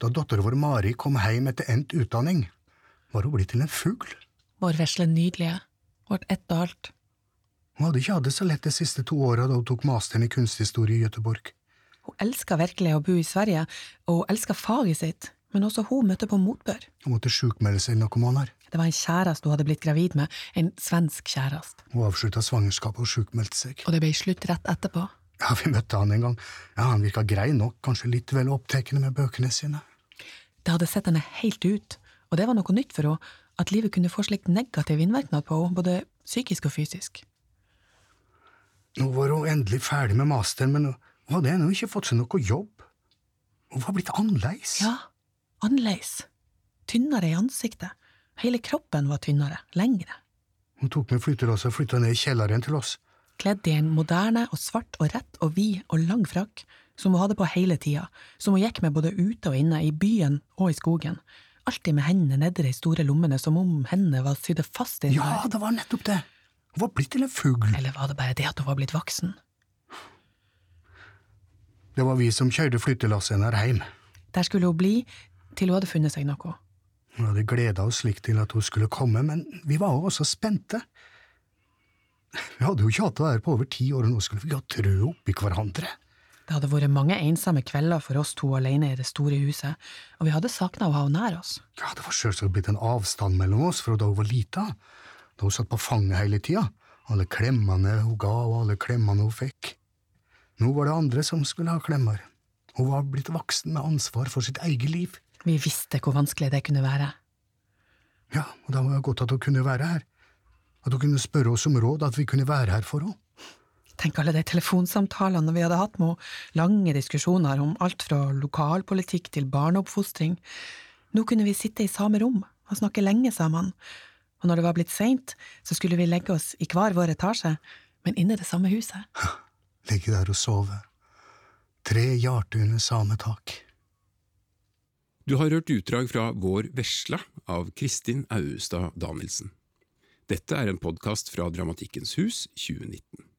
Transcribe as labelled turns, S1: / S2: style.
S1: Da datteren vår Mari kom hjem etter endt utdanning, var hun blitt til en fugl.
S2: Vår vesle nydelige. Vårt ett og alt.
S1: Hun hadde ikke hatt det så lett de siste to åra da hun tok masteren i kunsthistorie i Göteborg.
S2: Hun elska virkelig å bo i Sverige, og hun elska faget sitt, men også hun møtte på motbør.
S1: Hun måtte sjukmelde seg i narkomaner.
S2: Det var en kjæreste hun hadde blitt gravid med, en svensk kjæreste,
S1: Hun avslutta svangerskapet og sjukmeldte seg.
S2: og det ble slutt rett etterpå.
S1: Ja, vi møtte han en gang. Ja, Han virka grei nok, kanskje litt vel opptekende med bøkene sine.
S2: Det hadde sett henne helt ut, og det var noe nytt for henne, at livet kunne få slik negativ innvirkning på henne, både psykisk og fysisk.
S1: Nå var hun endelig ferdig med masteren, men hun hadde ennå ikke fått seg noe jobb. Hun var blitt annerledes.
S2: Ja, annerledes. Tynnere i ansiktet. Hele kroppen var tynnere, lengre.
S1: Hun tok med flyttelasset og flytta ned i kjelleren til oss.
S2: kledd i en moderne og svart og rett og vid og lang frakk, som hun hadde på hele tida, som hun gikk med både ute og inne, i byen og i skogen, alltid med hendene nedi de store lommene som om hendene var sydd fast inni
S1: Ja,
S2: her.
S1: det var nettopp det! Hun var blitt til en fugl.
S2: Eller var det bare det at hun var blitt voksen?
S1: Det var vi som kjørte flyttelasset hennes hjem.
S2: Der skulle hun bli til hun hadde funnet seg noe.
S1: Vi hadde gleda oss slik til at hun skulle komme, men vi var jo også spente. Vi hadde jo ikke hatt det her på over ti år, og nå skulle vi ha trø oppi hverandre.
S2: Det hadde vært mange ensomme kvelder for oss to alene i det store huset, og vi hadde sakna å ha henne nær oss.
S1: Ja, det var sjølsagt blitt en avstand mellom oss fra da hun var lita, da hun satt på fanget hele tida, alle klemmene hun ga og alle klemmene hun fikk. Nå var det andre som skulle ha klemmer. Hun var blitt voksen med ansvar for sitt eget liv.
S2: Vi visste hvor vanskelig det kunne være.
S1: Ja, og da var det godt at hun kunne være her. At hun kunne spørre oss om råd, at vi kunne være her for henne.
S2: Tenk alle de telefonsamtalene vi hadde hatt med henne, lange diskusjoner om alt fra lokalpolitikk til barneoppfostring. Nå kunne vi sitte i samme rom og snakke lenge sammen, og når det var blitt seint, så skulle vi legge oss i hver vår etasje, men inne i det samme huset.
S1: ligge der og sove. Tre hjerter under samme tak.
S3: Du har hørt utdrag fra Vår vesla av Kristin Auestad Danielsen. Dette er en podkast fra Dramatikkens hus 2019.